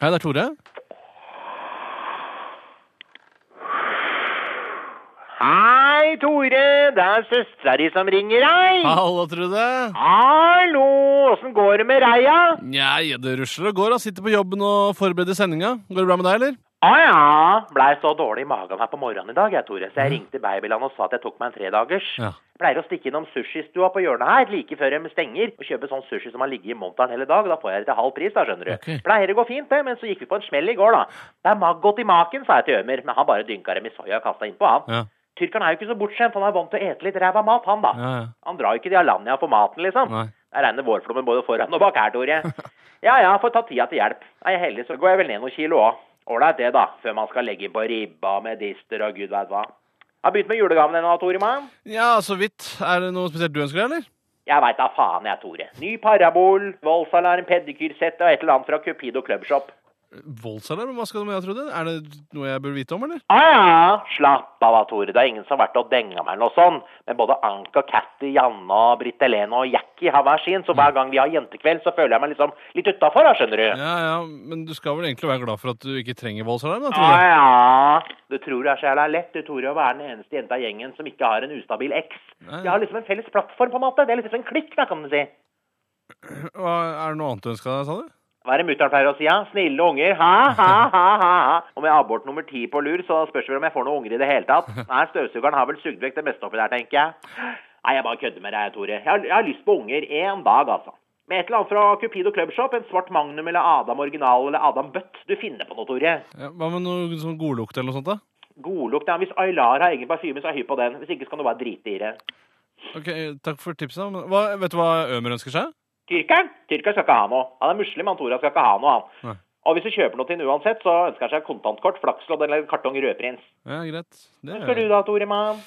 Hei, det er Tore. Hei, Tore. Det er søstera di som ringer deg. Hallo, Trude. Hallo, åssen går det med reia? Nei, det rusler og går. Jeg sitter på jobben og forbereder sendinga. Går det bra med deg, eller? Å ja. Blei så dårlig i magen her på morgenen i dag, jeg, Tore, så jeg ringte Babyland og sa at jeg tok meg en tredagers. Ja. Pleier å stikke innom sushistua på hjørnet her like før de stenger, og kjøpe sånn sushi som har ligget i monteren hele dag. Da får jeg det til halv pris, da, skjønner du. Ok. Pleier å gå fint, det, men så gikk vi på en smell i går, da. Det er maggot i maken, sa jeg til Ømer, men han bare dynka dem i soya og kasta innpå, han. Ja. Tyrkeren er jo ikke så bortskjemt, han er vant til å ete litt ræva mat, han, da. ja, ja. Han drar jo ikke de Alanya for maten, liksom. Nei. Det regner vårflommen både foran og bak her, Tore. Ja ja, får ta tida til hjelp. Er jeg heldig, så går jeg vel ned noen kilo òg. Ålreit det, da. Før man skal legge inn på ribba med dister og gud veit hva. Har begynt med julegaven ennå, Tore mann? ja, så vidt. Er det noe spesielt du ønsker deg, eller? Jeg veit da faen, jeg, Tore. Ny parabol, voldsalarm, pedikyrsett og et eller annet fra Cupido Clubshop. Voldsalarm? Hva skal du med det, Trude? Er det noe jeg bør vite om, eller? Ja, Ah, ja. Slapp av, Tore. Det er ingen som har vært og denga meg eller noe sånn. Men både Anka, Katty, Janne, og Britt Helene og Jackie har hver sin, så hver gang vi har jentekveld, så føler jeg meg liksom litt utafor, skjønner du. Ja, Ja, ja, men du skal vel egentlig være glad for at du ikke trenger voldsalarm, da, ja. Trude? Ah, Du tror det er så jævla lett, du, Tore, å være den eneste jenta i gjengen som ikke har en ustabil eks. Nei. De har liksom en felles plattform, på en måte. Det er liksom en klikk, da, kan du si. Hva, er det noe annet du ønsker deg, sa du? Hva er det mutter'n pleier å si, ja? Snille unger. Ha, ha, ha, ha. ha. Om jeg har abort nummer ti på lur, så spørs det vel om jeg får noen unger i det hele tatt. Nei, støvsugeren har vel sugd vekk det meste oppi der, tenker jeg. Nei, jeg bare kødder med deg, Tore. Jeg har, jeg har lyst på unger en dag, altså. Med et eller annet fra Cupido Clubshop, en svart Magnum eller Adam Original eller Adam Bøtt. Du finner på noe, Tore. Ja, hva med noe sånn godlukt eller noe sånt, da? Godlukt, ja. Hvis Aylar har egen parfyme, så er jeg hypp på den. Hvis ikke, så kan du bare drite i det. Ok, Takk for tipset. men Hva, vet du hva Ømer ønsker seg? Tyrkeren? Tyrkeren skal ikke ha noe. Han er muslim, han Tora skal ikke ha noe, han. Nei. Og hvis du kjøper noe til han uansett, så ønsker han seg kontantkort, flakslodd eller en kartong rødprins. Ja, greit. Det Hva skal du da, Tore mann?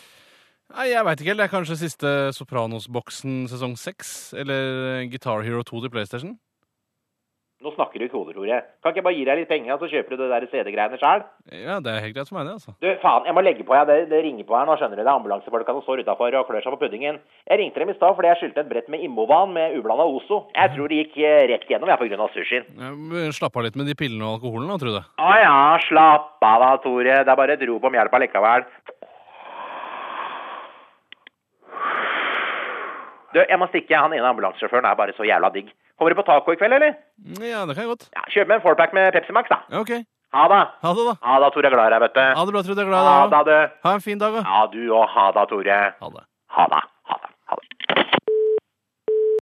Nei, Jeg veit ikke helt. Det er kanskje siste Sopranos-boksen sesong seks? Eller eh, Guitar Hero 2 til PlayStation? Nå snakker du i koder, Tore. Kan ikke jeg bare gi deg litt penger, så kjøper du det der CD-greiene sjøl? Ja, det er helt greit for meg, det, altså. Du, faen, jeg må legge på, jeg. Det, det ringer på her nå, skjønner du. Det er ambulansefolka som står utafor og klør seg på puddingen. Jeg ringte dem i stad fordi jeg skyldte et brett med Immovan med ublanda Ozo. Jeg tror det gikk eh, rett gjennom, jeg, på grunn av sushien. Ja, men Slapp av litt med de pillene og alkoholen, da, Trude. Å ja, slapp av da, Tore. Det er bare et rop om hjelp allikevel. Du, jeg må stikke. Han ene ambulansesjåføren er bare så jævla digg. Kommer du på taco i kveld, eller? Ja, det kan jeg godt. Ja, Kjøp med en fourpack med Pepsi Max, da. Ja, OK. Ha det. Ha det, da. Ha det, Tore. Jeg er Glad i deg, vet du. Ha det bra, Trude. Jeg er Ha glad i deg. det, du. Ha en fin dag, da. Ja, du òg. Ha det, Tore. Ha det. Ha det.